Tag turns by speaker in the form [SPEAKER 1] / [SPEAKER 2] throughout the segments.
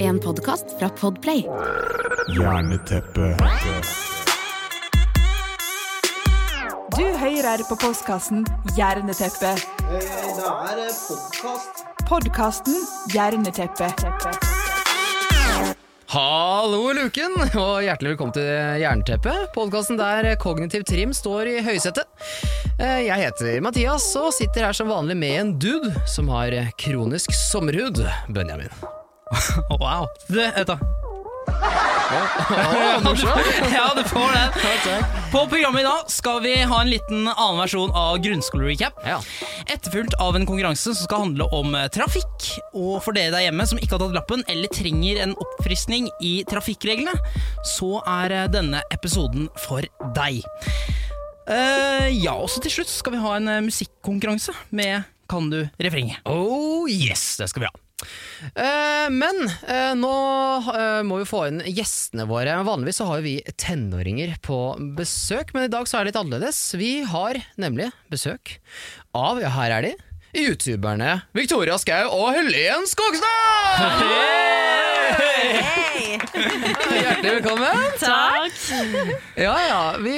[SPEAKER 1] En podkast fra Podplay.
[SPEAKER 2] Jerneteppe.
[SPEAKER 3] Du hører på postkassen Hjerneteppet.
[SPEAKER 4] Eh, Da er det podkast.
[SPEAKER 3] Podkasten Hjerneteppet.
[SPEAKER 5] Hallo i luken, og hjertelig velkommen til Jernteppet, podkasten der kognitiv trim står i høysetet. Eh, Jeg heter Mathias og sitter her som vanlig med en dude som har kronisk sommerhud, Benjamin.
[SPEAKER 6] Wow. Du, vet du.
[SPEAKER 5] Å, morsomt.
[SPEAKER 6] Ja, du får den. På programmet i dag skal vi ha en liten annen versjon av grunnskolerecap.
[SPEAKER 5] Ja.
[SPEAKER 6] Etterfulgt av en konkurranse som skal handle om eh, trafikk. Og for dere der hjemme som ikke har tatt lappen, eller trenger en oppfriskning i trafikkreglene, så er eh, denne episoden for deg. Eh, ja, og så til slutt skal vi ha en eh, musikkonkurranse med Kan du refrenget.
[SPEAKER 5] Oh yes, det skal vi ha. Eh, men eh, nå eh, må vi få inn gjestene våre. Vanligvis så har jo vi tenåringer på besøk, men i dag så er det litt annerledes. Vi har nemlig besøk av, ja her er de, youtuberne Victoria Skau og Helen Skogstad! Hjertelig velkommen.
[SPEAKER 7] Takk.
[SPEAKER 5] Ja, ja. Vi,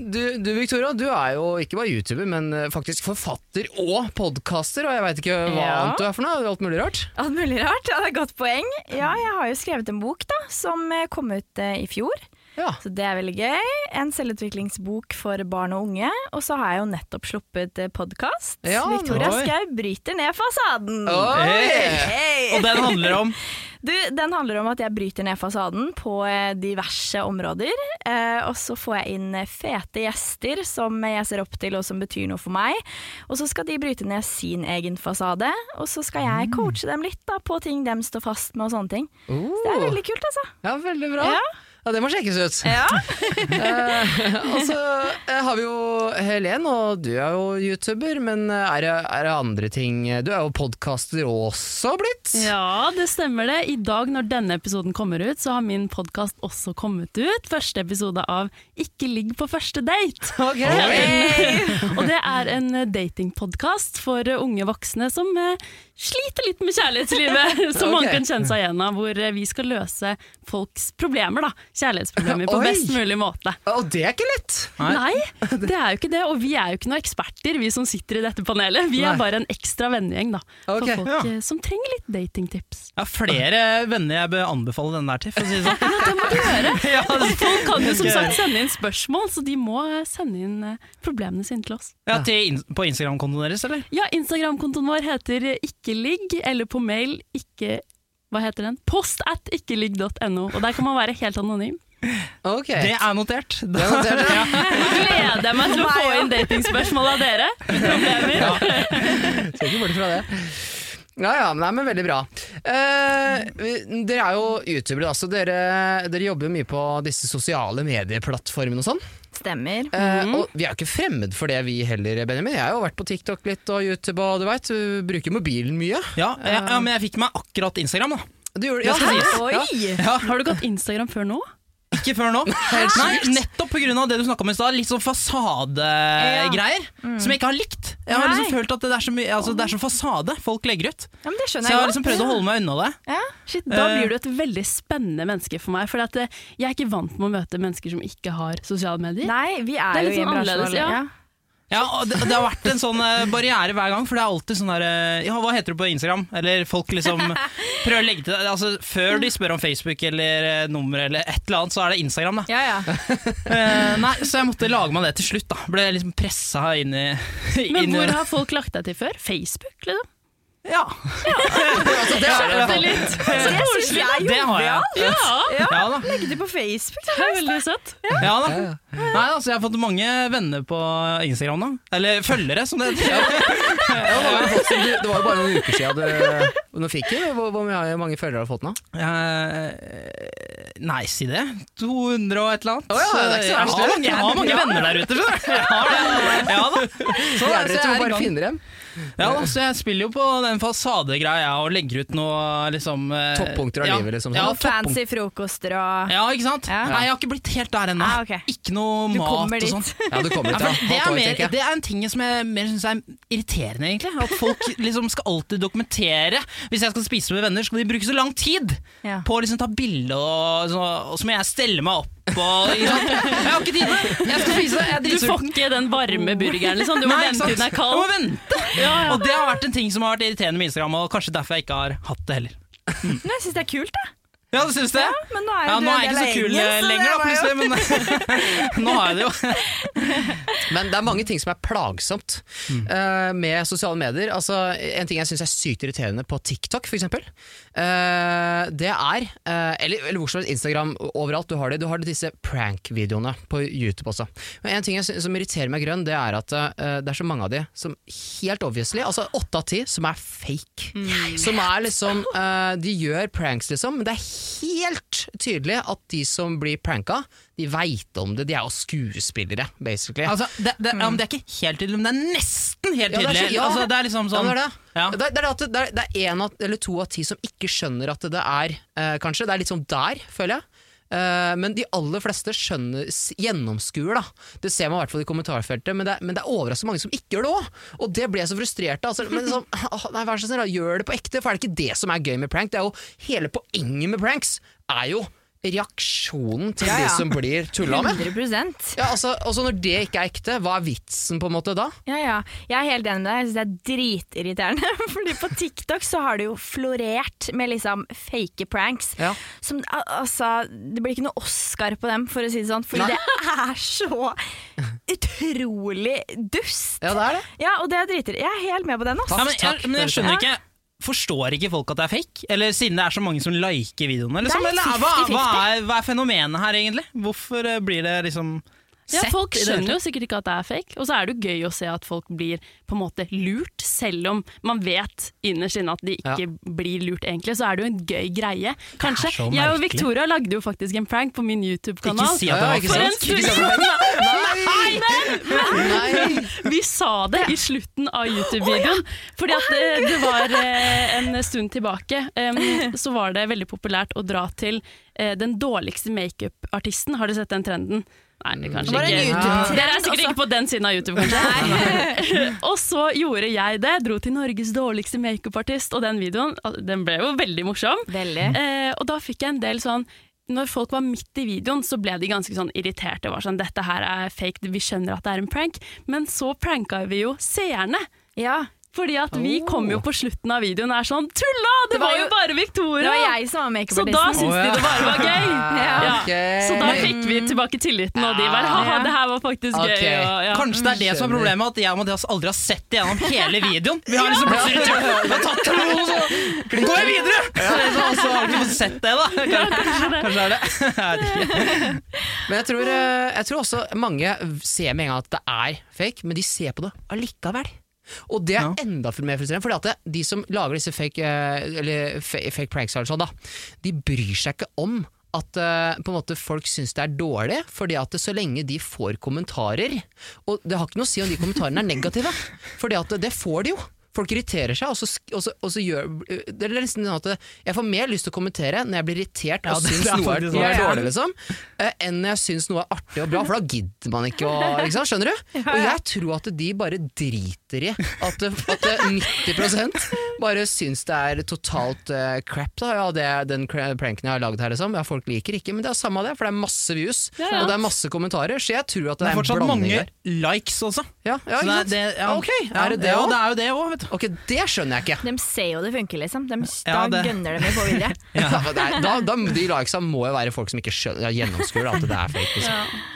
[SPEAKER 5] du, du Victoria, du er jo ikke bare youtuber, men eh, faktisk forfatter og podkaster, og jeg veit ikke hva
[SPEAKER 7] Ja.
[SPEAKER 5] annet du er for noe. Alt mulig rart.
[SPEAKER 7] Alt mulig rart. Ja, det er et godt poeng. Ja, jeg har jo skrevet en bok da, som eh, kom ut eh, i fjor.
[SPEAKER 5] Ja.
[SPEAKER 7] Så det er veldig gøy. En selvutviklingsbok for barn og unge. Og så har jeg jo nettopp sluppet podkast.
[SPEAKER 5] Ja,
[SPEAKER 7] Victoria
[SPEAKER 6] oi.
[SPEAKER 7] Skau bryter ned fasaden.
[SPEAKER 5] Oi!
[SPEAKER 7] Hey.
[SPEAKER 6] Og den handler om
[SPEAKER 7] Du, den handler om at jeg bryter ned fasaden på eh, diverse områder. Eh, og så får jeg inn eh, fete gjester som jeg ser opp til og som betyr noe for meg. Og så skal de bryte ned sin egen fasade, og så skal
[SPEAKER 6] Mm.
[SPEAKER 7] jeg coache dem litt da, på ting dem står fast med og sånne ting. Så det er
[SPEAKER 5] Oh.
[SPEAKER 7] veldig kult, altså.
[SPEAKER 5] Ja, veldig bra. Ja.
[SPEAKER 7] Ja.
[SPEAKER 5] det må sjekkes ut.
[SPEAKER 7] Ja.
[SPEAKER 5] Og så eh, har vi jo Helen, og du er jo YouTuber, men eh, er det, er det andre ting Du er jo podkaster også blitt.
[SPEAKER 8] Ja, det stemmer det. I dag når denne episoden kommer ut, så har min podkast også kommet ut. Første episode av Ikke ligg på første date.
[SPEAKER 5] Ok.
[SPEAKER 8] Og det er en datingpodkast for eh, unge voksne som eh, sliter litt med kjærlighetslivet. Som man
[SPEAKER 5] Ok.
[SPEAKER 8] kan kjenne seg igjen av. Hvor eh, vi skal løse folks problemer, da. Kjærlighetsproblemer på
[SPEAKER 5] Oi.
[SPEAKER 8] best mulig måte.
[SPEAKER 5] Og det er ikke lett!
[SPEAKER 8] Nei, det er jo ikke det. Og vi er jo ikke noen eksperter, vi som sitter i dette panelet. Vi
[SPEAKER 5] Nei.
[SPEAKER 8] er bare en ekstra vennegjeng da, for
[SPEAKER 5] Ok,
[SPEAKER 8] folk
[SPEAKER 6] ja.
[SPEAKER 8] eh, som trenger litt datingtips.
[SPEAKER 6] Jeg har flere venner jeg bør anbefale den der til, for å si det sånn.
[SPEAKER 8] Det må du gjøre!
[SPEAKER 6] Ja,
[SPEAKER 8] Og folk kan jo som sagt sende inn spørsmål, så de må eh, sende inn eh, problemene sine til oss.
[SPEAKER 6] Ja, til in på Instagram-kontoen deres, eller?
[SPEAKER 8] Ja, Instagram-kontoen vår heter eh, ikkeligg, eller på mail ikke... Hva heter den? Post at ikkeligg.no, og der kan man være helt anonym.
[SPEAKER 5] Ok.
[SPEAKER 6] Det er notert.
[SPEAKER 5] Det er notert, ja.
[SPEAKER 8] Nå gleder jeg meg til å få inn datingspørsmål av dere. Problemer.
[SPEAKER 5] Ser ikke bort fra det. Ja, ja, men, nei, men veldig bra. Eh, vi- dere er jo youtubere, da, så dere, dere jobber jo mye på disse sosiale medieplattformene og sånn.
[SPEAKER 7] Stemmer.
[SPEAKER 5] Eh,
[SPEAKER 6] Mhm.
[SPEAKER 5] Og vi er jo ikke fremmed for det vi heller, Benjamin. Jeg har jo vært på TikTok litt og YouTube og du veit, du bruker mobilen mye.
[SPEAKER 6] Ja, ja,
[SPEAKER 7] Eh.
[SPEAKER 6] ja, men jeg fikk meg akkurat Instagram, da.
[SPEAKER 5] Du gjorde,
[SPEAKER 6] Det skal
[SPEAKER 5] hæ?
[SPEAKER 6] sies.
[SPEAKER 5] Ja.
[SPEAKER 7] Oi!
[SPEAKER 8] Har du gått Instagram før nå?
[SPEAKER 6] Ikke før nå. Nei, nettopp pga. det du snakka om i stad, litt sånn fasadegreier. Som jeg ikke har likt. Jeg har
[SPEAKER 7] Mm. Nei.
[SPEAKER 6] liksom følt at det er, så mye, altså, det er så fasade folk legger ut.
[SPEAKER 7] Ja, men det
[SPEAKER 6] Så
[SPEAKER 7] skjønner
[SPEAKER 6] jeg
[SPEAKER 7] jeg
[SPEAKER 6] har
[SPEAKER 7] godt.
[SPEAKER 6] liksom prøvd å holde meg unna det.
[SPEAKER 7] Ja.
[SPEAKER 8] Shit, da
[SPEAKER 6] Eh.
[SPEAKER 8] blir du et veldig spennende menneske for meg. For at eh, jeg er ikke vant med å møte mennesker som ikke har sosiale medier.
[SPEAKER 7] Nei, vi er,
[SPEAKER 8] Det er litt
[SPEAKER 7] jo i en
[SPEAKER 8] sånn
[SPEAKER 7] bransje,
[SPEAKER 8] annerledes, ja.
[SPEAKER 6] Ja, og det, det har vært en sånn eh, barriere hver gang, for det er alltid sånn der eh, Ja, hva heter du på Instagram? Eller folk liksom prøver å legge til deg Altså, før de spør om Facebook eller eh, nummer eller et eller annet, så er det Instagram, da.
[SPEAKER 7] Ja, ja.
[SPEAKER 6] Eh, nei, så jeg måtte lage meg det til slutt, da. Ble liksom pressa inn i
[SPEAKER 8] Men
[SPEAKER 6] inn i
[SPEAKER 8] hvor
[SPEAKER 6] det.
[SPEAKER 8] har folk lagt deg til før? Facebook, liksom?
[SPEAKER 6] Ja.
[SPEAKER 5] Altså, det er det.
[SPEAKER 8] Skjerp deg litt!
[SPEAKER 7] Så det syns jeg
[SPEAKER 6] Det har jeg.
[SPEAKER 7] jo. Ja,
[SPEAKER 6] Ja da.
[SPEAKER 7] legg det på Facebook.
[SPEAKER 8] Det er veldig søtt.
[SPEAKER 6] Ja, da. Nei, altså, jeg har fått mange venner på Instagram, da. Eller følgere, som det heter.
[SPEAKER 5] Ja, det, var jo folk som du, det var jo bare noen uker siden du, du fikk det. Hvor, hvor mye- mange følgere har du fått nå?
[SPEAKER 6] Eh, nei, si det. 200 og et eller annet.
[SPEAKER 5] Å ja, det er ikke så verst,
[SPEAKER 6] jeg har
[SPEAKER 5] det.
[SPEAKER 6] mange, jeg har mange venner der ute, skjønner du. Jeg har det. Ja da.
[SPEAKER 5] Så
[SPEAKER 6] Så,
[SPEAKER 5] er
[SPEAKER 6] så
[SPEAKER 5] dere
[SPEAKER 6] jeg
[SPEAKER 5] til å
[SPEAKER 6] er i
[SPEAKER 5] bare
[SPEAKER 6] gang.
[SPEAKER 5] finne dem.
[SPEAKER 6] Ja, da, så jeg spiller jo på den fasadegreia jeg, og legger ut noe liksom eh,
[SPEAKER 5] Toppunkter av
[SPEAKER 6] ja.
[SPEAKER 5] livet, liksom.
[SPEAKER 6] Ja,
[SPEAKER 7] Og fancy frokoster og
[SPEAKER 6] Ja, ikke sant?
[SPEAKER 7] Ja.
[SPEAKER 6] Nei, jeg har ikke blitt helt der ennå.
[SPEAKER 7] Ah, ok.
[SPEAKER 6] Ikke noe
[SPEAKER 7] Du
[SPEAKER 6] mat
[SPEAKER 7] kommer
[SPEAKER 6] og
[SPEAKER 7] dit.
[SPEAKER 6] sånn.
[SPEAKER 5] Ja, du kommer
[SPEAKER 6] Ja, for
[SPEAKER 5] dit, ja.
[SPEAKER 6] det, er
[SPEAKER 5] Halvt år,
[SPEAKER 6] mer,
[SPEAKER 5] tenker jeg.
[SPEAKER 6] det er en ting som jeg mer syns er irriterende, egentlig. At folk liksom skal alltid dokumentere. Hvis jeg skal spise med venner, skal de bruke så lang tid
[SPEAKER 7] Ja.
[SPEAKER 6] på å liksom ta bilde, og, så- og så må jeg stelle meg opp. Og, ikke sant? Jeg har ikke tid til det! Jeg skal spise, jeg er
[SPEAKER 8] Du får
[SPEAKER 6] dritsulten.
[SPEAKER 8] ikke den varme burgeren, liksom. Du må
[SPEAKER 6] Nei, ikke
[SPEAKER 8] vente
[SPEAKER 6] sant?
[SPEAKER 8] til den er
[SPEAKER 6] Jeg må
[SPEAKER 8] kald.
[SPEAKER 6] vente.
[SPEAKER 8] Ja, ja.
[SPEAKER 6] Og det har vært en ting som har vært irriterende med Instagram, og kanskje derfor jeg ikke har hatt det heller.
[SPEAKER 7] Men jeg syns det er kult, jeg.
[SPEAKER 6] Ja, du syns det?
[SPEAKER 7] Ja, men nå er jo
[SPEAKER 6] Ja,
[SPEAKER 7] du
[SPEAKER 6] nå
[SPEAKER 7] en
[SPEAKER 6] er jeg ikke så
[SPEAKER 7] del av
[SPEAKER 6] kul
[SPEAKER 7] gjengen, så
[SPEAKER 6] lenger, da,
[SPEAKER 7] det var jo-
[SPEAKER 6] plutselig, men nå har jeg det jo.
[SPEAKER 5] Men det er mange ting som er plagsomt eh, med sosiale medier. Altså, en ting jeg syns er sykt irriterende på TikTok, f.eks., uh, det er eh, Eller, eller hvor som helst, Instagram, overalt du har det. Du har disse prank-videoene på YouTube også. Men en ting jeg syns- som irriterer meg grønn, det er at eh, det er så mange av de som helt obviously, altså åtte av ti, som er fake. Som er liksom eh, De gjør pranks, liksom, men det er helt tydelig at de som blir pranka, de veit om det. De er jo skuespillere, basically.
[SPEAKER 6] Altså, det, det, ja, men det er ikke helt tydelig, men det er nesten helt
[SPEAKER 5] Ja, det er
[SPEAKER 6] tydelig.
[SPEAKER 5] så- ja.
[SPEAKER 6] altså, det er liksom sånn
[SPEAKER 5] Ja, det er det.
[SPEAKER 6] Ja.
[SPEAKER 5] Det, er- det er at det- det er, det er en av, eller to av ti som ikke skjønner at det er, eh, kanskje. Det er litt sånn der, føler jeg. Eh, men de aller fleste skjønner, s- gjennomskuer, da. Det ser man i hvert fall i kommentarfeltet, men det, er- men det er overraskende mange som ikke gjør det òg. Og det ble jeg så frustrert av. Altså, men sånn, «Åh, nei, vær så snill, da, gjør det på ekte, for er det ikke det som er gøy med prank? Det er jo, hele poenget med pranks er jo reaksjonen til de som blir tulla med.
[SPEAKER 7] 100
[SPEAKER 5] Ja, altså, altså Når det ikke er ekte, hva er vitsen på en måte da?
[SPEAKER 7] Ja, ja. Jeg er helt enig med deg. Jeg synes det er dritirriterende. Fordi på TikTok så har det jo florert med liksom fake pranks.
[SPEAKER 5] Ja.
[SPEAKER 7] Som, al- altså, det blir ikke noe Oscar på dem, for å si det sånn. Fordi
[SPEAKER 5] Nei.
[SPEAKER 7] det er så utrolig dust.
[SPEAKER 5] Ja, det er det.
[SPEAKER 7] Ja, og det er dritirriterende. Jeg er helt med på den. ass.
[SPEAKER 6] Ja,
[SPEAKER 5] Takk.
[SPEAKER 6] men, jeg, men jeg skjønner
[SPEAKER 7] Ja.
[SPEAKER 6] ikke Forstår ikke folk at det er fake? Eller siden det er så mange som liker videoene? Liksom,
[SPEAKER 7] Det er litt
[SPEAKER 6] eller, hva, hva,
[SPEAKER 7] 50-50.
[SPEAKER 6] er, hva er fenomenet her, egentlig? Hvorfor eh, blir det liksom
[SPEAKER 8] Ja,
[SPEAKER 6] sett
[SPEAKER 8] folk
[SPEAKER 6] i det hele
[SPEAKER 8] skjønner jo sikkert ikke at det er fake, og så er det jo gøy å se at folk blir på en måte lurt, selv om man vet innerst inne at de ikke blir lurt egentlig, så er det jo en gøy greie. Kanskje.
[SPEAKER 6] så
[SPEAKER 8] Jeg og
[SPEAKER 6] merkelig.
[SPEAKER 8] Victoria lagde jo faktisk en prank på min
[SPEAKER 6] Ikke
[SPEAKER 8] YouTube-kanal.
[SPEAKER 6] si at det var
[SPEAKER 5] ikke
[SPEAKER 8] For
[SPEAKER 5] sant?
[SPEAKER 8] en
[SPEAKER 5] Ikke
[SPEAKER 8] stund
[SPEAKER 5] sant? Nei! Nei!
[SPEAKER 8] Vi sa det i slutten av YouTube-videoen, fordi at det, det var eh, en stund tilbake, em, så var det veldig populært å dra til eh, den dårligste makeup-artisten. Har du sett den trenden? Nei, det kanskje
[SPEAKER 7] Var det en
[SPEAKER 8] ikke.
[SPEAKER 7] YouTube-trend altså?
[SPEAKER 8] Dere er sikkert ikke på den siden av YouTube, kanskje. og så gjorde jeg det, dro til Norges dårligste makeup-artist, og den videoen al- den ble jo veldig morsom.
[SPEAKER 7] Veldig.
[SPEAKER 8] Eh, og da fikk jeg en del sånn når folk var midt i videoen, så ble de ganske sånn irriterte. og Var sånn, Dette her er fake, vi skjønner at det er en prank. Men så pranka vi jo seerne.
[SPEAKER 7] Ja.
[SPEAKER 8] Fordi at vi kom jo på slutten av videoen og er sånn Tulla! Det,
[SPEAKER 7] Det var
[SPEAKER 8] var
[SPEAKER 7] jo-
[SPEAKER 8] jo bare
[SPEAKER 7] Det
[SPEAKER 8] Victoria!
[SPEAKER 7] var jeg som var
[SPEAKER 8] så da
[SPEAKER 7] makeupartisten.
[SPEAKER 8] syntes de det bare var gøy.
[SPEAKER 7] Ja.
[SPEAKER 8] Ja.
[SPEAKER 5] Ok.
[SPEAKER 8] Så da fikk vi tilbake tilliten, og de bare ha
[SPEAKER 7] Ja.
[SPEAKER 8] det her var faktisk
[SPEAKER 5] Ok.
[SPEAKER 8] gøy. Og, ja.
[SPEAKER 6] Kanskje det er det som er
[SPEAKER 5] Skjønner.
[SPEAKER 6] problemet, at jeg og Mathias aldri har sett det gjennom hele videoen. Vi har liksom plutselig vi har tatt to, og så går jeg videre! Så det er sånn, så har vi ikke fått sett det, da. Kanskje, kanskje er det. Jeg vet ikke.
[SPEAKER 5] Men jeg tror, eh, jeg tror også mange ser med en gang at det er fake, men de ser på det allikevel. Og det er
[SPEAKER 6] Ja.
[SPEAKER 5] enda mer frustrerende, Fordi at det, de som lager disse fake, eh, eller fa- fake pranks, eller sånn da, de bryr seg ikke om at eh, på en måte folk syns det er dårlig, fordi at så lenge de får kommentarer Og det har ikke noe å si om de kommentarene er negative, Fordi at det får de jo. Folk irriterer seg, og så, sk- og så, og så gjør Det er nesten sånn at jeg får mer lyst til å kommentere når jeg blir irritert og
[SPEAKER 6] det
[SPEAKER 5] syns
[SPEAKER 6] er
[SPEAKER 5] noe er,
[SPEAKER 6] faktisk
[SPEAKER 5] noe er
[SPEAKER 6] sånn.
[SPEAKER 5] dårlig, liksom, eh, enn når jeg syns noe er artig og bra, for da gidder man ikke å ikke sant, Skjønner du? Og jeg tror at de bare driter i at, at 90 bare syns det er totalt eh, crap. Da. Ja, det er den cra- pranken jeg har lagd her, liksom. Ja, folk liker ikke, men det er samme av det, for det er masse views,
[SPEAKER 8] Ja, ja.
[SPEAKER 5] og det er masse kommentarer, så jeg tror at det,
[SPEAKER 6] Det er
[SPEAKER 5] er en
[SPEAKER 6] fortsatt
[SPEAKER 5] blanding
[SPEAKER 6] mange
[SPEAKER 5] der.
[SPEAKER 6] likes også.
[SPEAKER 5] Ja, ja,
[SPEAKER 6] Så
[SPEAKER 5] ikke
[SPEAKER 6] det,
[SPEAKER 5] sant?
[SPEAKER 6] er- det, ja.
[SPEAKER 5] Ok, er det det
[SPEAKER 6] Ja,
[SPEAKER 5] også?
[SPEAKER 6] det er jo det òg, vet du.
[SPEAKER 5] Ok, det skjønner jeg ikke.
[SPEAKER 7] De ser jo det funker, liksom. De, da
[SPEAKER 6] Ja, det-
[SPEAKER 7] gønner de jo på videre.
[SPEAKER 5] Da, da, da, de likesa må jo være folk som ikke skjønner, ja, gjennomskuer at det er fake. Liksom.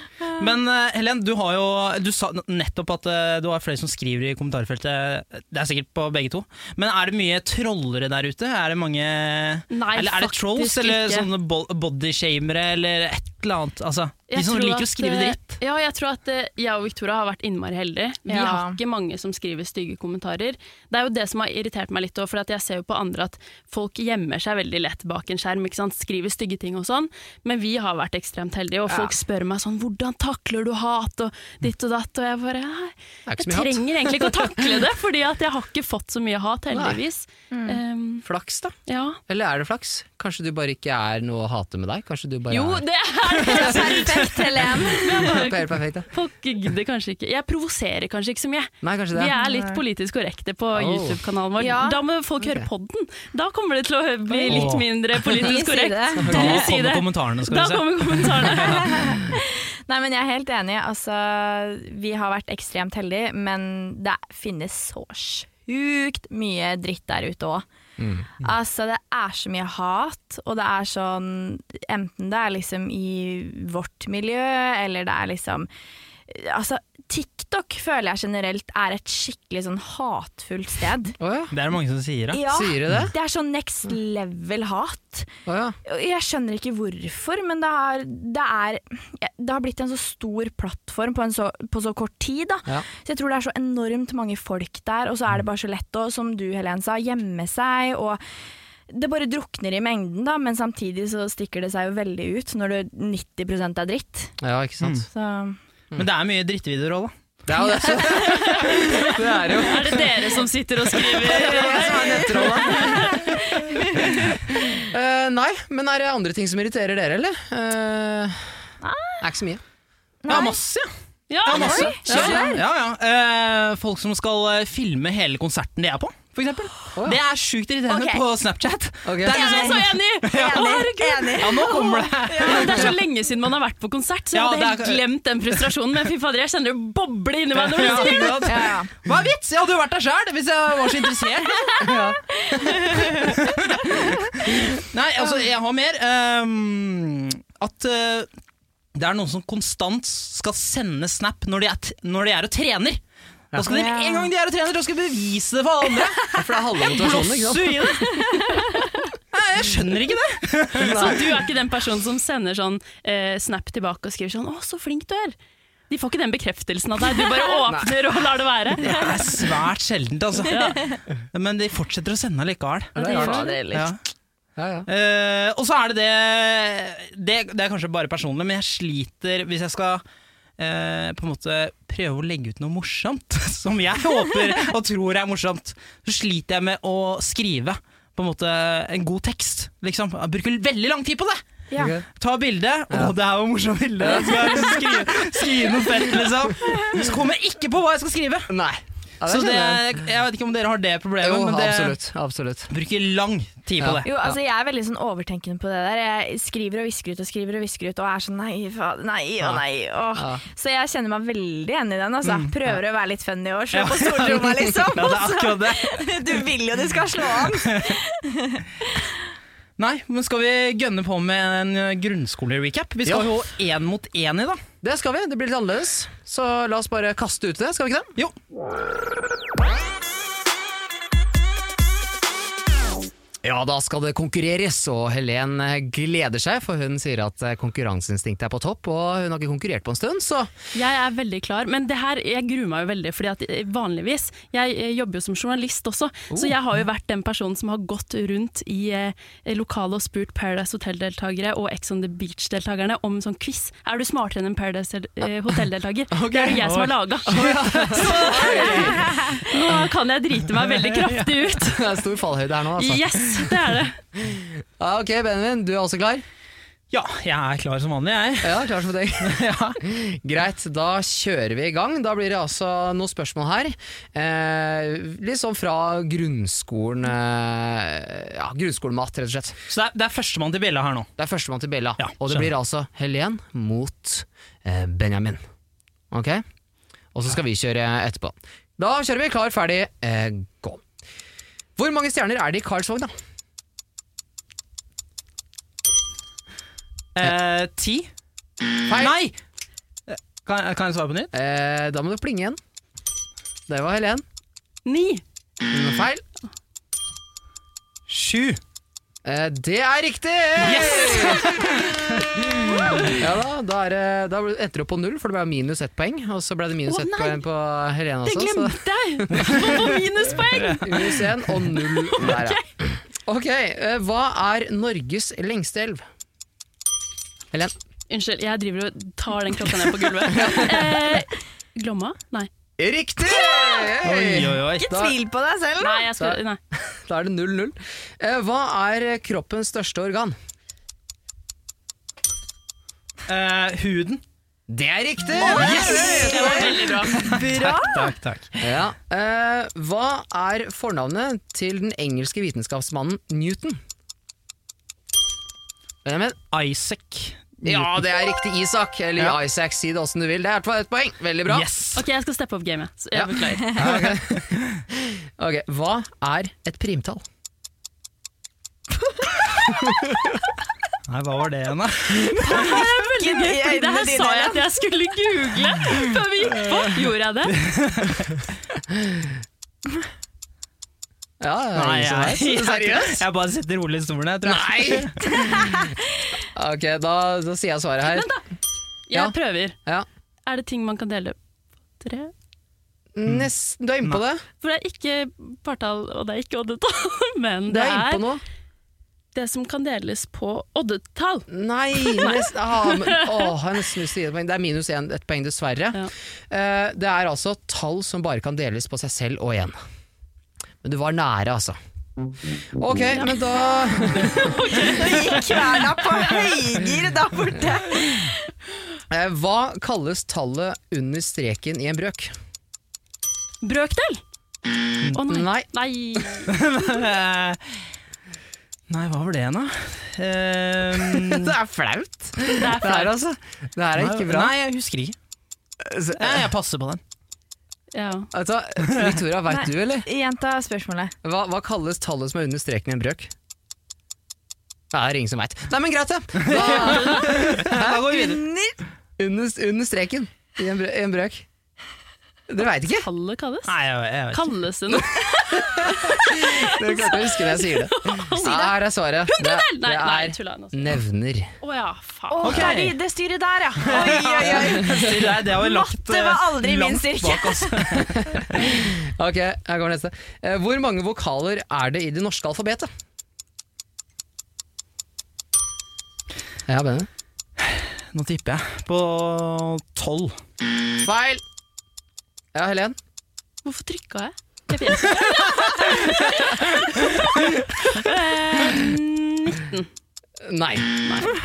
[SPEAKER 6] Men eh, Helen, du har jo Du sa nettopp at eh, du har flere som skriver i kommentarfeltet. Det er sikkert på begge to. Men er det mye trollere der ute? Er det mange
[SPEAKER 8] Nei,
[SPEAKER 6] Eller er det
[SPEAKER 8] faktisk
[SPEAKER 6] trolls, eller
[SPEAKER 8] ikke.
[SPEAKER 6] sånne bo- bodyshamere, eller et eller annet? Altså,
[SPEAKER 8] Jeg
[SPEAKER 6] de som
[SPEAKER 8] tror
[SPEAKER 6] liker
[SPEAKER 8] at,
[SPEAKER 6] å skrive
[SPEAKER 8] eh,
[SPEAKER 6] dritt.
[SPEAKER 8] Ja, jeg tror at eh, jeg og Victoria har vært innmari heldige. Vi
[SPEAKER 7] Ja.
[SPEAKER 8] har ikke mange som skriver stygge kommentarer. Det er jo det som har irritert meg litt, for jeg ser jo på andre at folk gjemmer seg veldig lett bak en skjerm, ikke sant? skriver stygge ting og sånn. Men vi har vært ekstremt heldige, og folk spør meg sånn 'hvordan takler du hat?' og ditt og datt, og jeg bare «Nei,
[SPEAKER 5] Det er ikke
[SPEAKER 8] Jeg
[SPEAKER 5] så mye hat.
[SPEAKER 8] trenger egentlig ikke å takle det, fordi at jeg har ikke fått så mye hat, heldigvis. Um,
[SPEAKER 5] Flaks, da.
[SPEAKER 8] ja.
[SPEAKER 5] Eller er det flaks? Kanskje du bare ikke er noe å hate med deg? Kanskje du bare
[SPEAKER 8] Jo,
[SPEAKER 5] er
[SPEAKER 8] det er
[SPEAKER 7] Perfekt, Helen.
[SPEAKER 5] helt perfekt? Ja.
[SPEAKER 8] Folk gidder kanskje ikke. Jeg provoserer kanskje ikke så mye.
[SPEAKER 5] Nei, kanskje
[SPEAKER 8] Vi
[SPEAKER 5] det.
[SPEAKER 8] er litt politisk korrekte på
[SPEAKER 5] Oh.
[SPEAKER 8] YouTube-kanalen vår.
[SPEAKER 7] Ja.
[SPEAKER 8] Da må folk høre podden. Da kommer det til å bli litt
[SPEAKER 6] Åh.
[SPEAKER 8] mindre
[SPEAKER 7] Vi
[SPEAKER 8] politisk
[SPEAKER 7] sier
[SPEAKER 8] korrekt.
[SPEAKER 7] det.
[SPEAKER 6] Da
[SPEAKER 8] Du
[SPEAKER 6] kommer
[SPEAKER 8] sier det.
[SPEAKER 6] kommentarene, skal
[SPEAKER 8] Da
[SPEAKER 6] vi se.
[SPEAKER 8] kommer kommentarene.
[SPEAKER 7] Nei, men jeg er helt enig. Altså, vi har vært ekstremt heldige, men det finnes så sjukt mye dritt der ute òg.
[SPEAKER 5] Mm.
[SPEAKER 7] Altså, det er så mye hat, og det er sånn Enten det er liksom i vårt miljø, eller det er liksom Altså, TikTok føler jeg generelt er et skikkelig sånn hatfullt sted.
[SPEAKER 5] Å ja.
[SPEAKER 6] Det er det mange som sier, ja.
[SPEAKER 7] Ja,
[SPEAKER 5] Sier du det?
[SPEAKER 7] det er sånn next level hat.
[SPEAKER 5] Å ja.
[SPEAKER 7] Jeg skjønner ikke hvorfor, men det, er, det, er, det har blitt en så stor plattform på, en så, på så kort tid. Da.
[SPEAKER 5] Ja.
[SPEAKER 7] Så jeg tror det er så enormt mange folk der, og så er det bare så lett å, som du Helen sa, gjemme seg. og det bare drukner i mengden, da, men samtidig så stikker det seg jo veldig ut når du 90 er dritt.
[SPEAKER 5] ja, ikke sant.
[SPEAKER 7] Så
[SPEAKER 8] Mm.
[SPEAKER 6] Men det er mye drittvideoer òg, da.
[SPEAKER 5] Det er jo det. Så. Det er jo
[SPEAKER 8] Er det dere som sitter og skriver?
[SPEAKER 5] Jeg som er nettrollet. Eh, nei, men er det andre ting som irriterer dere, eller? Eh, det er ikke så mye.
[SPEAKER 6] Ja, masse, ja.
[SPEAKER 8] Ja,
[SPEAKER 6] Ja, masse.
[SPEAKER 8] oi.
[SPEAKER 6] Ja, ja, ja. Eh, folk som skal eh, filme hele konserten de er på, for eksempel.
[SPEAKER 5] ja.
[SPEAKER 6] Det er sjukt irriterende
[SPEAKER 7] Ok.
[SPEAKER 6] på Snapchat.
[SPEAKER 5] Ok.
[SPEAKER 6] Det er
[SPEAKER 8] Jeg er så
[SPEAKER 6] liksom,
[SPEAKER 8] enig! Å,
[SPEAKER 7] enig.
[SPEAKER 8] herregud.
[SPEAKER 7] enig.
[SPEAKER 6] ja, nå kommer det.
[SPEAKER 8] Det er så lenge siden man har vært på konsert, så jeg
[SPEAKER 6] Ja,
[SPEAKER 8] hadde
[SPEAKER 6] det
[SPEAKER 8] helt
[SPEAKER 6] er-
[SPEAKER 8] glemt den frustrasjonen. Men fy fader, jeg kjenner det boble inni meg. når du sier det.
[SPEAKER 6] Ja,
[SPEAKER 7] Ja, ja.
[SPEAKER 6] Hva er vits? Jeg hadde jo vært der sjøl hvis jeg var så interessert. Nei, altså, jeg har mer. ehm, at eh, det er noen som konstant skal sende snap når de er, t når de er og trener. Da skal de,
[SPEAKER 7] Ja.
[SPEAKER 6] en gang de er og trener, da skal de bevise det for alle.
[SPEAKER 5] For det er halve motivasjonen, ikke sant?
[SPEAKER 6] Blåser i det. Nei, jeg skjønner ikke det.
[SPEAKER 8] Så du er ikke den personen som sender sånn eh, snap tilbake og skriver sånn 'Å, så flink du er'. De får ikke den bekreftelsen av deg. Du bare åpner og lar det være.
[SPEAKER 6] Det er svært sjeldent, altså. Men de fortsetter å sende likevel.
[SPEAKER 5] Det er rart.
[SPEAKER 6] Ja.
[SPEAKER 5] Ja, ja.
[SPEAKER 6] Eh, og så er det det, det Det er kanskje bare personlig, men jeg sliter hvis jeg skal eh, på en måte prøve å legge ut noe morsomt, som jeg håper og tror er morsomt, så sliter jeg med å skrive på en måte en god tekst. Liksom. Jeg bruker veldig lang tid på det!
[SPEAKER 7] Ja.
[SPEAKER 5] Ok.
[SPEAKER 6] Ta bilde. Å, det her var et morsomt bilde! Så skal jeg liksom skrive, skrive noe fett, liksom. Så kommer jeg ikke på hva jeg skal skrive!
[SPEAKER 5] Nei. Ja,
[SPEAKER 6] Så det,
[SPEAKER 5] kjenner jeg.
[SPEAKER 6] jeg vet ikke om dere har det problemet,
[SPEAKER 5] Jo,
[SPEAKER 6] men det
[SPEAKER 5] absolutt. absolutt.
[SPEAKER 6] bruker lang tid på
[SPEAKER 5] Ja.
[SPEAKER 6] det.
[SPEAKER 7] Jo, altså Jeg er veldig sånn overtenkende på det der. Jeg skriver og visker ut og skriver og visker ut og er sånn nei, faen, nei og nei. Åh.
[SPEAKER 5] Ja. Mm.
[SPEAKER 7] Så jeg kjenner meg veldig igjen i den. Altså. Prøver å være litt funny og slå på stortromma, liksom.
[SPEAKER 6] Ja, det er akkurat det.
[SPEAKER 7] Du vil jo du skal slå an!
[SPEAKER 6] Nei, men skal vi gønne på med en eh, grunnskole-recap? Vi skal
[SPEAKER 5] Ja.
[SPEAKER 6] jo én mot én i, da.
[SPEAKER 5] Det skal vi. Det blir litt annerledes. Så la oss bare kaste ut det, skal vi ikke det?
[SPEAKER 6] Jo.
[SPEAKER 5] Ja, da skal det konkurreres, og Helen eh, gleder seg, for hun sier at eh, konkurranseinstinktet er på topp, og hun har ikke konkurrert på en stund, så
[SPEAKER 8] Jeg er veldig klar, men det her, jeg gruer meg jo veldig, fordi at eh, vanligvis, jeg eh, jobber jo som journalist også, så jeg har jo vært den personen som har gått rundt i eh, lokalet og spurt Paradise Hotel-deltakere og Ex on the Beach-deltakerne om en sånn quiz. Er du smartere enn en Paradise eh, Hotel-deltaker? Det er det jeg som har laga. Så nå kan jeg drite meg veldig kraftig ut.
[SPEAKER 5] det er stor fallhøyde her nå, altså.
[SPEAKER 8] Yes, det er det.
[SPEAKER 5] Ja, ok, Benjamin, du er også klar?
[SPEAKER 6] Ja, jeg er klar som vanlig, jeg.
[SPEAKER 5] Ja, klar som deg. Greit, da kjører vi i gang. Da blir det altså noen spørsmål her. Eh, litt sånn fra grunnskolen eh, Ja, grunnskolemat, rett og slett.
[SPEAKER 6] Så det er, det er førstemann til bjella her nå.
[SPEAKER 5] Det er førstemann til bjella.
[SPEAKER 6] Ja,
[SPEAKER 5] og det
[SPEAKER 6] skjønner.
[SPEAKER 5] blir altså Helen mot eh, Benjamin. Ok? Og så skal vi kjøre etterpå. Da kjører vi. Klar, ferdig, eh, gå. Hvor mange stjerner er det i Karlsvogn, da?
[SPEAKER 6] Eh, ti?
[SPEAKER 5] Feil.
[SPEAKER 6] Nei! Eh, Kan, kan jeg svare på nytt?
[SPEAKER 5] Eh, da må du plinge igjen. Det var Helen.
[SPEAKER 8] Ni.
[SPEAKER 5] Feil.
[SPEAKER 6] Sju.
[SPEAKER 5] Eh, det er riktig! ja da, da, er, det- da endte det opp på null, for det ble minus ett poeng. Og så ble det minus
[SPEAKER 8] Å,
[SPEAKER 5] ett
[SPEAKER 8] nei!
[SPEAKER 5] poeng på Helene
[SPEAKER 8] Det
[SPEAKER 5] også. så-
[SPEAKER 8] glemte jeg! Få minuspoeng!
[SPEAKER 5] Minus én og null der, ja. Ok, eh, Hva er Norges lengste elv? Helen?
[SPEAKER 8] Unnskyld, jeg driver og tar den klokka ned på gulvet. Eh, Glomma? Nei.
[SPEAKER 5] Riktig!
[SPEAKER 6] Oi, oi, oi.
[SPEAKER 7] Ikke
[SPEAKER 5] Da-
[SPEAKER 7] tvil på deg selv.
[SPEAKER 8] Nei, jeg skal, nei.
[SPEAKER 5] Da er det 0-0. Eh, Hva er kroppens største organ?
[SPEAKER 6] Eh, huden.
[SPEAKER 5] Det er riktig!
[SPEAKER 8] Det var veldig bra.
[SPEAKER 6] Takk, takk.
[SPEAKER 5] Ja. eh, Hva er fornavnet til den engelske vitenskapsmannen Newton? Benjamin?
[SPEAKER 6] Isaac.
[SPEAKER 5] Ja, det er riktig. Isak. Eller
[SPEAKER 6] Ja.
[SPEAKER 5] Isaac, si det åssen du vil. Det er i hvert fall ett poeng. Veldig bra.
[SPEAKER 6] Yes.
[SPEAKER 8] Ok, jeg skal steppe opp gamet. Så jeg
[SPEAKER 5] Ja.
[SPEAKER 8] beklager.
[SPEAKER 5] Ok, Hva er et primtall?
[SPEAKER 6] Nei, hva var det igjen, da?
[SPEAKER 8] Veldig gøy, fordi det her sa jeg at jeg skulle google før vi gikk på.
[SPEAKER 5] Eh.
[SPEAKER 8] Gjorde jeg det?
[SPEAKER 5] Ja, det er
[SPEAKER 6] Nei,
[SPEAKER 5] ingen som vet.
[SPEAKER 6] jeg, jeg, jeg bare setter rolig i stolen, jeg tror.
[SPEAKER 5] Nei! ok, da, da sier jeg svaret her. Ja.
[SPEAKER 8] Jeg prøver.
[SPEAKER 5] Ja.
[SPEAKER 8] Er det ting man kan dele på tre?
[SPEAKER 5] Nesten, du er inne på det.
[SPEAKER 8] For det er ikke partall, og det er ikke oddetall, men
[SPEAKER 5] Du
[SPEAKER 8] det
[SPEAKER 5] er inne på
[SPEAKER 8] er
[SPEAKER 5] noe.
[SPEAKER 8] det som kan deles på oddetall.
[SPEAKER 5] Nei, nest, ah, men, åh, jeg har nesten lyst til å gi det et poeng. Det er minus én, ett poeng, dessverre.
[SPEAKER 8] Ja.
[SPEAKER 5] Eh, det er altså tall som bare kan deles på seg selv og én. Men du var nære, altså. Ok, men da
[SPEAKER 7] Kverna på høygir der borte.
[SPEAKER 5] eh, Hva kalles tallet under streken i en brøk?
[SPEAKER 8] Brøkdel! Å nei.
[SPEAKER 5] Nei.
[SPEAKER 8] Nei.
[SPEAKER 6] Eh, Nei, hva var det igjen, da? Eh,
[SPEAKER 5] Det er flaut!
[SPEAKER 8] Det er
[SPEAKER 5] Det her,
[SPEAKER 8] flaut.
[SPEAKER 5] altså. Det her er ikke bra.
[SPEAKER 6] Nei, jeg husker ikke. Nei, jeg passer på den.
[SPEAKER 8] Ja.
[SPEAKER 5] Vet du hva, Victoria,
[SPEAKER 7] Nei.
[SPEAKER 5] veit du, eller?
[SPEAKER 7] Gjenta spørsmålet.
[SPEAKER 5] Hva, hva kalles tallet som er under streken i en brøk? Det er ingen som veit. Nei, men greit, det! Da,
[SPEAKER 6] Da går vi
[SPEAKER 5] mm.
[SPEAKER 6] videre.
[SPEAKER 5] under, under streken i en, brø- i en brøk. Dere veit ikke?
[SPEAKER 8] Kalle kalles?
[SPEAKER 6] Nei, jeg, jeg vet ikke.
[SPEAKER 8] Kalles det noe?
[SPEAKER 5] Dere klarte å huske det jeg sier det. Ja, her er svaret. Det,
[SPEAKER 8] Nei,
[SPEAKER 5] det
[SPEAKER 8] nei,
[SPEAKER 5] er
[SPEAKER 8] tulla. nå.
[SPEAKER 5] nevner.
[SPEAKER 8] Å ja, faen.
[SPEAKER 7] Å, der i det styret der, ja. Oi, oi, oi.
[SPEAKER 6] Nei, det har vi lagt eh,
[SPEAKER 7] Matte var aldri min
[SPEAKER 6] langt
[SPEAKER 7] styrke.
[SPEAKER 6] bak oss.
[SPEAKER 5] Ok, her går neste. Eh, Hvor mange vokaler er det i det norske alfabetet? Ja, Benny.
[SPEAKER 6] Nå tipper jeg på tolv.
[SPEAKER 5] Feil! Ja, Helen.
[SPEAKER 8] Hvorfor trykka jeg? Jeg vet ikke. Ehm,
[SPEAKER 5] Nei.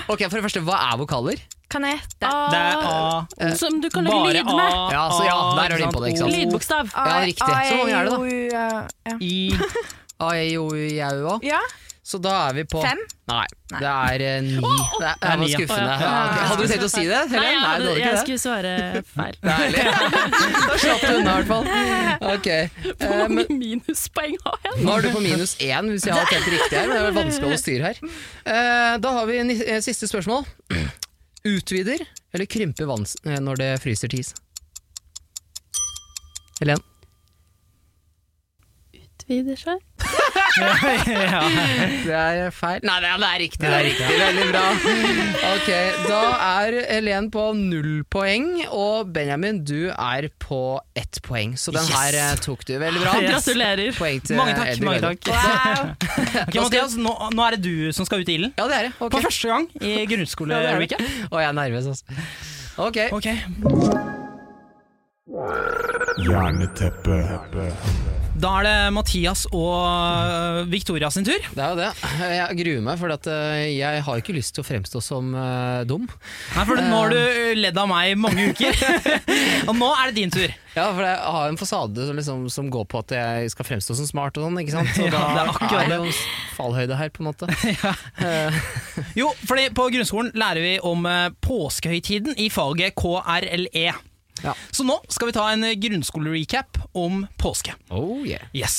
[SPEAKER 5] Ok, For det første, hva er vokaler?
[SPEAKER 7] Kan jeg gjette?
[SPEAKER 6] Det er A.
[SPEAKER 8] Ah, Som du kan lage
[SPEAKER 6] Bare
[SPEAKER 8] lyd
[SPEAKER 6] A.
[SPEAKER 8] med.
[SPEAKER 5] Ja, så ja,
[SPEAKER 6] A,
[SPEAKER 5] der er du inne på det, ikke sant?
[SPEAKER 8] Lydbokstav.
[SPEAKER 7] Ah,
[SPEAKER 5] Ja, riktig. Så hvor mange er
[SPEAKER 7] E,
[SPEAKER 5] det da?
[SPEAKER 7] da?
[SPEAKER 6] I
[SPEAKER 5] A-E-I-O-U-I-A-U-A.
[SPEAKER 7] Ja,
[SPEAKER 5] Så da er vi på
[SPEAKER 7] Fem?
[SPEAKER 5] Nei, det er eh, ni. Det er,
[SPEAKER 6] Det
[SPEAKER 5] det
[SPEAKER 6] er
[SPEAKER 5] var
[SPEAKER 6] ni, ja. Å,
[SPEAKER 5] skuffende. Ja, Sånn ok. Hadde du tenkt å si det?
[SPEAKER 8] Nei,
[SPEAKER 5] Helen? Nei,
[SPEAKER 8] jeg,
[SPEAKER 5] du
[SPEAKER 8] hadde,
[SPEAKER 5] hadde
[SPEAKER 8] jeg
[SPEAKER 5] ikke det.
[SPEAKER 8] skulle svare feil.
[SPEAKER 5] Det er ærlig. Da slapp du unna, i hvert fall. Ok, eh,
[SPEAKER 8] Hvor
[SPEAKER 5] men
[SPEAKER 8] mange minuspoeng har jeg?
[SPEAKER 5] Nå er du på minus én, hvis jeg har telt riktig her. Men det er vel vanskelig å holde styr her. Eh, Da har vi ni- eh, siste spørsmål. Utvider eller krymper vann s- eh, når det fryser til is? Helen?
[SPEAKER 8] Utvider seg.
[SPEAKER 5] Det er feil. Nei, det er, det er riktig. Det er riktig. Veldig bra. Ok, Da er Helen på null poeng, og Benjamin, du er på ett poeng. Så den
[SPEAKER 6] Yes.
[SPEAKER 5] her eh, tok du. Veldig bra.
[SPEAKER 6] Yes.
[SPEAKER 8] Gratulerer.
[SPEAKER 5] Poeng til eh,
[SPEAKER 6] Mange takk.
[SPEAKER 5] Eddie
[SPEAKER 6] mange
[SPEAKER 5] Vedder.
[SPEAKER 6] takk Ok, Mathias, nå, nå er det du som skal ut i ilden.
[SPEAKER 5] Ja, det er det.
[SPEAKER 6] For
[SPEAKER 5] Okay.
[SPEAKER 6] første gang i grunnskole
[SPEAKER 5] Ja, det
[SPEAKER 6] Ulrikke.
[SPEAKER 5] Og jeg er nervøs, altså. Ok,
[SPEAKER 6] Ok,
[SPEAKER 2] Hjerneteppe.
[SPEAKER 6] Da er det Mathias og øh, Victoria sin tur.
[SPEAKER 5] det er jo det. Jeg gruer meg, for at eh, jeg har ikke lyst til å fremstå som eh, dum.
[SPEAKER 6] Nei, for Nå har du ledd av meg i mange uker, og nå er det din tur.
[SPEAKER 5] Ja, for jeg har en fasade som, liksom, som går på at jeg skal fremstå som smart og sånn, ikke sant? Og
[SPEAKER 6] Ja,
[SPEAKER 5] da
[SPEAKER 6] det er akkurat
[SPEAKER 5] er det jo fallhøyde her, på en måte.
[SPEAKER 6] Jo, fordi På grunnskolen lærer vi om eh, påskehøytiden i faget KRLE.
[SPEAKER 5] Ja.
[SPEAKER 6] E. Så nå skal vi ta en grunnskole-recap om påske.
[SPEAKER 5] Oh yeah.
[SPEAKER 6] Yes.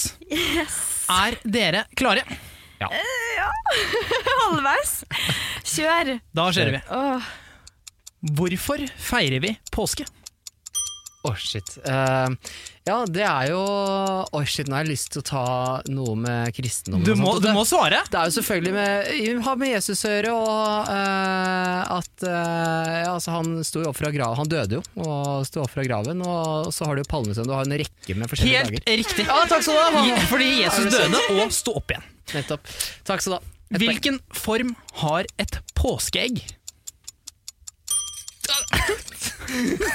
[SPEAKER 6] Er dere klare?
[SPEAKER 7] halvveis. Kjør.
[SPEAKER 6] Da kjører vi.
[SPEAKER 7] Åh,
[SPEAKER 6] Hvorfor feirer vi påske?
[SPEAKER 5] Å, shit. Eh, ja, det er jo Å, shit, nå har jeg lyst til å ta noe med kristendommen.
[SPEAKER 6] Du
[SPEAKER 5] og
[SPEAKER 6] må,
[SPEAKER 5] sånt, og
[SPEAKER 6] du
[SPEAKER 5] det-
[SPEAKER 6] må svare!
[SPEAKER 5] Det er jo selvfølgelig med, har med Jesus å gjøre, og eh, at eh, ja, altså han sto jo opp fra graven Han døde jo, og sto opp fra graven, og så har du jo palmesøndag, du har en rekke med forskjellige
[SPEAKER 6] Helt
[SPEAKER 5] dager.
[SPEAKER 6] riktig.
[SPEAKER 5] Ja, takk skal du ha!
[SPEAKER 6] Je-
[SPEAKER 5] Hanne.
[SPEAKER 6] Fordi Jesus
[SPEAKER 5] Er du
[SPEAKER 6] døde og sto opp igjen.
[SPEAKER 5] Nettopp. Takk skal du ha. Et poeng.
[SPEAKER 6] Hvilken form har et påskeegg?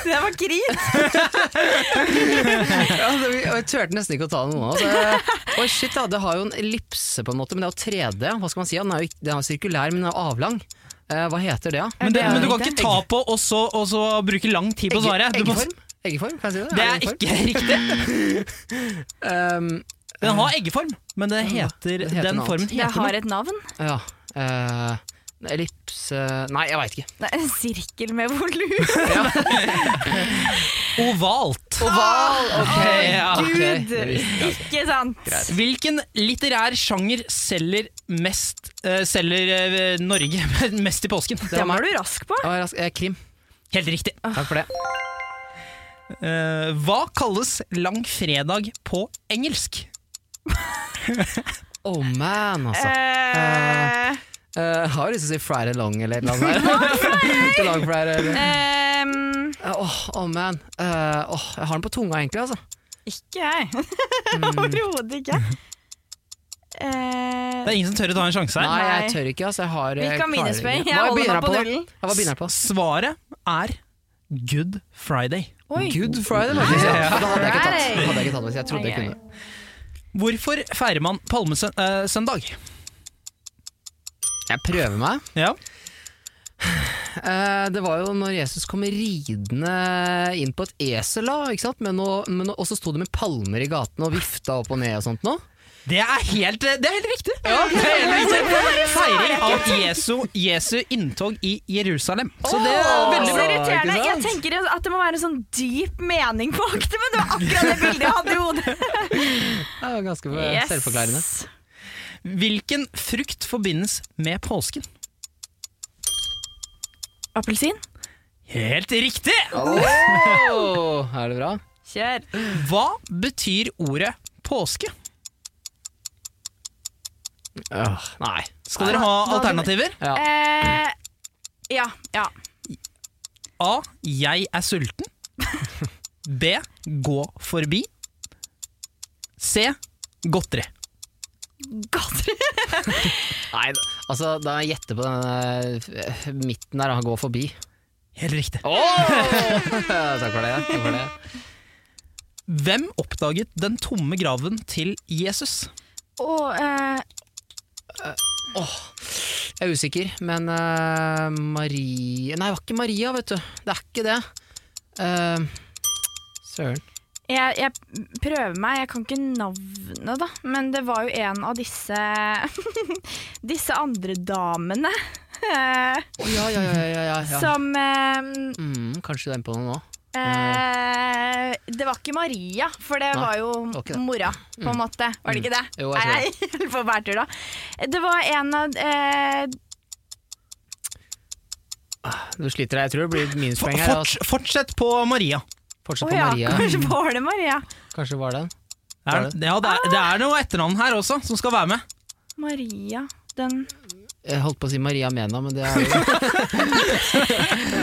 [SPEAKER 7] Det var krit!
[SPEAKER 5] Ja, det, jeg turte nesten ikke å ta noen av oss. Eh, Oi, shit, da, det har jo en ellipse på en måte, men det er jo 3D. Hva skal man si? Den er jo ikke- den er jo sirkulær, men den er avlang. Eh, hva heter det, da?
[SPEAKER 6] Men, det,
[SPEAKER 7] det er
[SPEAKER 6] men du
[SPEAKER 7] jo
[SPEAKER 6] kan ikke ta på og så, og så bruke lang tid på å svare. Du må,
[SPEAKER 5] Eggeform? Eggeform, kan jeg si det?
[SPEAKER 6] det
[SPEAKER 5] det
[SPEAKER 6] er ikke
[SPEAKER 5] eggeform?
[SPEAKER 6] riktig.
[SPEAKER 5] Ehm,
[SPEAKER 6] Den har eggeform, men det heter,
[SPEAKER 5] det heter
[SPEAKER 6] den
[SPEAKER 5] noe
[SPEAKER 6] formen
[SPEAKER 7] Det
[SPEAKER 6] heter
[SPEAKER 7] har
[SPEAKER 6] noe.
[SPEAKER 7] et navn.
[SPEAKER 5] ja. eh, ellipse Nei, jeg veit ikke.
[SPEAKER 7] Det er en sirkel med volum.
[SPEAKER 6] Ovalt.
[SPEAKER 5] Oval!
[SPEAKER 6] Ok, ja.
[SPEAKER 5] ok.
[SPEAKER 7] Gud, ikke sant?
[SPEAKER 6] Hvilken litterær sjanger selger mest eh, Selger eh, Norge mest i påsken?
[SPEAKER 7] Den var du rask på.
[SPEAKER 5] Jeg var rask. Eh, Krim.
[SPEAKER 6] Helt riktig.
[SPEAKER 5] Takk for det.
[SPEAKER 6] Eh, hva kalles langfredag på engelsk?
[SPEAKER 5] Oh man, altså.
[SPEAKER 7] Eh,
[SPEAKER 5] Eh, har jo lyst til å si Friday Long eller noe sånt. Long Friday! eller-
[SPEAKER 7] ehm,
[SPEAKER 5] Eh, Åh, oh, man. Eh, åh, jeg har den på tunga egentlig, altså.
[SPEAKER 7] ikke jeg. Overhodet ikke. Eh,
[SPEAKER 6] Det er ingen som tør å ta en sjanse her.
[SPEAKER 5] Nei,
[SPEAKER 7] Nei.
[SPEAKER 5] jeg tør ikke. Altså. Jeg har,
[SPEAKER 7] Hvilke
[SPEAKER 5] jeg klarer
[SPEAKER 7] minuspoeng?
[SPEAKER 5] ikke.
[SPEAKER 7] Jeg
[SPEAKER 5] Hva
[SPEAKER 7] holder
[SPEAKER 5] begynner
[SPEAKER 7] meg på
[SPEAKER 5] da?
[SPEAKER 7] nullen.
[SPEAKER 5] Ja, Hva begynner jeg på?
[SPEAKER 6] Svaret er Good Friday.
[SPEAKER 7] oi.
[SPEAKER 5] Good Friday, faktisk. Ja.
[SPEAKER 6] Ja.
[SPEAKER 5] Det hadde jeg ikke tatt.
[SPEAKER 7] Friday.
[SPEAKER 5] Det Hadde jeg ikke tatt hvis jeg trodde jeg
[SPEAKER 7] Oi, oi.
[SPEAKER 5] kunne.
[SPEAKER 6] Hvorfor feirer man eh, palmesøndag?
[SPEAKER 5] Jeg prøver meg.
[SPEAKER 6] Ja.
[SPEAKER 5] Eh, det var jo når Jesus kom ridende inn på et esel, da, ikke sant? Men, nå- men, nå- og så sto det med palmer i gatene og vifta opp og ned og sånt nå.
[SPEAKER 6] Det er helt, eh, det er helt riktig! det er helt riktig. Feiring av Jesu, Jesu inntog i Jerusalem. Så det er
[SPEAKER 7] Åh,
[SPEAKER 6] veldig
[SPEAKER 7] så
[SPEAKER 6] bra.
[SPEAKER 7] irriterende.
[SPEAKER 5] ikke
[SPEAKER 7] Jeg
[SPEAKER 5] sant?
[SPEAKER 7] tenker at det må være en sånn dyp mening bak det, men det var akkurat det bildet jeg hadde i hodet.
[SPEAKER 5] Det er jo ganske Eh, selvforklarende.
[SPEAKER 6] Hvilken frukt forbindes med påsken?
[SPEAKER 7] Appelsin?
[SPEAKER 6] Helt riktig!
[SPEAKER 5] Åh, er det bra?
[SPEAKER 7] Kjør.
[SPEAKER 6] Hva betyr ordet påske?
[SPEAKER 5] Åh, nei.
[SPEAKER 6] Skal dere ha alternativer?
[SPEAKER 5] Ja.
[SPEAKER 7] Eh, ja. ja.
[SPEAKER 6] A. Jeg er sulten. B. Gå forbi. C. Godteri.
[SPEAKER 7] Godteri.
[SPEAKER 5] nei. Altså, da jeg gjetter på den eh, midten der og han går forbi.
[SPEAKER 6] Helt riktig.
[SPEAKER 5] Takk for det. Takk for det.
[SPEAKER 6] Hvem oppdaget den tomme graven til Jesus?
[SPEAKER 7] Og eh,
[SPEAKER 5] Jeg er usikker, men eh, Marie Nei, det var ikke Maria, vet du. Det er ikke det. Eh, Søren.
[SPEAKER 7] jeg, jeg prøver meg, jeg kan ikke navnet, da. Men det var jo en av disse Disse andre damene eh,
[SPEAKER 5] Å, ja, ja, ja. ja, ja, ja.
[SPEAKER 7] som eh,
[SPEAKER 5] Mm, kanskje du er inne på noe nå.
[SPEAKER 7] eh, Det var ikke Maria, for det
[SPEAKER 5] Nei,
[SPEAKER 7] var jo
[SPEAKER 5] var ikke det.
[SPEAKER 7] mora, på en måte. Var det ikke det?
[SPEAKER 5] Mm. Jo, jeg tror
[SPEAKER 7] Nei, jeg holder på bærtur, da. Det var en av eh,
[SPEAKER 5] Du sliter deg. Jeg tror det blir
[SPEAKER 6] For,
[SPEAKER 5] minuspoeng her.
[SPEAKER 6] forts,
[SPEAKER 5] altså.
[SPEAKER 6] fortsett på Maria.
[SPEAKER 5] Fortsett
[SPEAKER 7] Å
[SPEAKER 5] på
[SPEAKER 7] ja,
[SPEAKER 5] Maria.
[SPEAKER 7] kanskje var det Maria.
[SPEAKER 5] Kanskje det var den.
[SPEAKER 6] Er, det- ja, det, er, det er noe etternavn her også som skal være med.
[SPEAKER 7] Maria, den
[SPEAKER 5] Jeg holdt på å si Maria Mena, men det er jo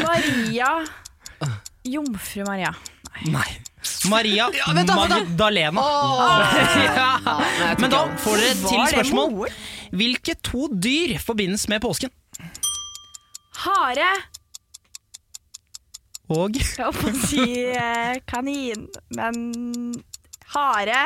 [SPEAKER 7] Maria
[SPEAKER 5] Ah.
[SPEAKER 7] Jomfru Maria.
[SPEAKER 6] Nei. Maria Magdalena. ja. Men da får dere et til
[SPEAKER 7] Var det
[SPEAKER 6] spørsmål.
[SPEAKER 7] moren?
[SPEAKER 6] Hvilke to dyr forbindes med påsken?
[SPEAKER 7] Hare.
[SPEAKER 6] Og
[SPEAKER 7] Jeg holdt på å si eh, kanin, men hare.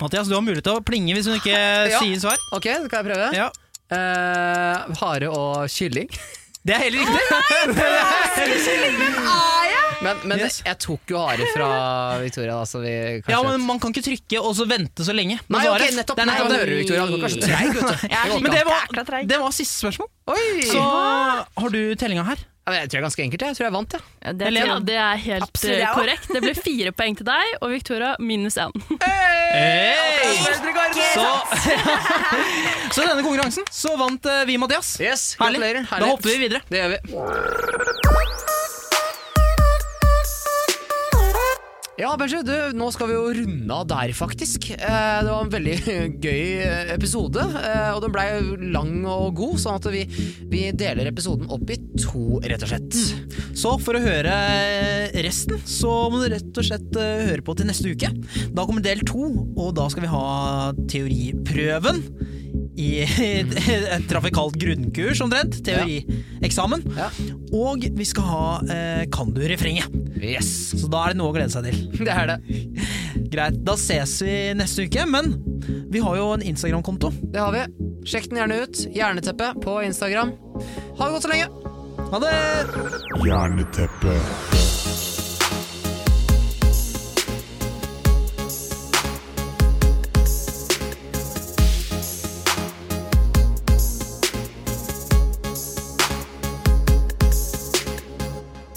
[SPEAKER 6] Mathias, du har mulighet til å plinge hvis hun ikke sier svar.
[SPEAKER 5] Ok, skal jeg prøve?
[SPEAKER 6] Ja.
[SPEAKER 5] Eh, hare og kylling.
[SPEAKER 6] Det er heller riktig.
[SPEAKER 5] Men, men
[SPEAKER 6] Yes.
[SPEAKER 5] jeg tok jo hare fra Victoria, da, så vi kanskje
[SPEAKER 6] ja, men Man kan ikke trykke og så vente så lenge. med
[SPEAKER 5] Nei, ok,
[SPEAKER 6] svaret. Det
[SPEAKER 5] nettopp.
[SPEAKER 6] er
[SPEAKER 5] Nei,
[SPEAKER 6] nettopp
[SPEAKER 5] det
[SPEAKER 6] det.
[SPEAKER 5] hører du, Victoria. Du er kanskje treig, vet du.
[SPEAKER 7] Jeg er så
[SPEAKER 6] Men det
[SPEAKER 7] jækla
[SPEAKER 6] var,
[SPEAKER 7] treig.
[SPEAKER 6] det var siste spørsmål.
[SPEAKER 5] Oi!
[SPEAKER 6] Så har du tellinga her.
[SPEAKER 5] Ja, men jeg tror jeg er ganske enkelt. Jeg Jeg tror jeg vant, jeg.
[SPEAKER 7] Ja, det tror
[SPEAKER 8] Ja,
[SPEAKER 7] jeg.
[SPEAKER 8] det er helt
[SPEAKER 7] Absolutt,
[SPEAKER 8] eh,
[SPEAKER 7] ja.
[SPEAKER 8] korrekt. Det ble fire poeng til deg, og Victoria minus én.
[SPEAKER 6] Hey! Så, så i denne konkurransen så vant eh, vi, Mathias.
[SPEAKER 5] Yes,
[SPEAKER 6] Herlig.
[SPEAKER 5] gratulerer.
[SPEAKER 6] Da hopper vi videre.
[SPEAKER 5] Det gjør vi. Ja, Benji, du, nå skal vi jo runde av der, faktisk. Eh, Det var en veldig gøy eh, episode, eh, og den blei lang og god, sånn at vi, vi deler episoden opp i to, rett og slett.
[SPEAKER 6] Så for å høre eh, resten, så må du rett og slett eh, høre på til neste uke. Da kommer del to, og da skal vi ha teoriprøven. I et trafikalt grunnkurs, omtrent. Teorieksamen.
[SPEAKER 5] Ja.
[SPEAKER 6] Og vi skal ha eh, Kan du refrenget?
[SPEAKER 5] Yes!
[SPEAKER 6] Så da er det noe å glede seg til.
[SPEAKER 5] Det er det.
[SPEAKER 6] Greit, da ses vi neste uke, men vi har jo en Instagram-konto.
[SPEAKER 5] Det har vi. Sjekk den gjerne ut. Hjerneteppe på Instagram. Ha det godt så lenge!
[SPEAKER 6] Ha det!
[SPEAKER 2] Hjerneteppe.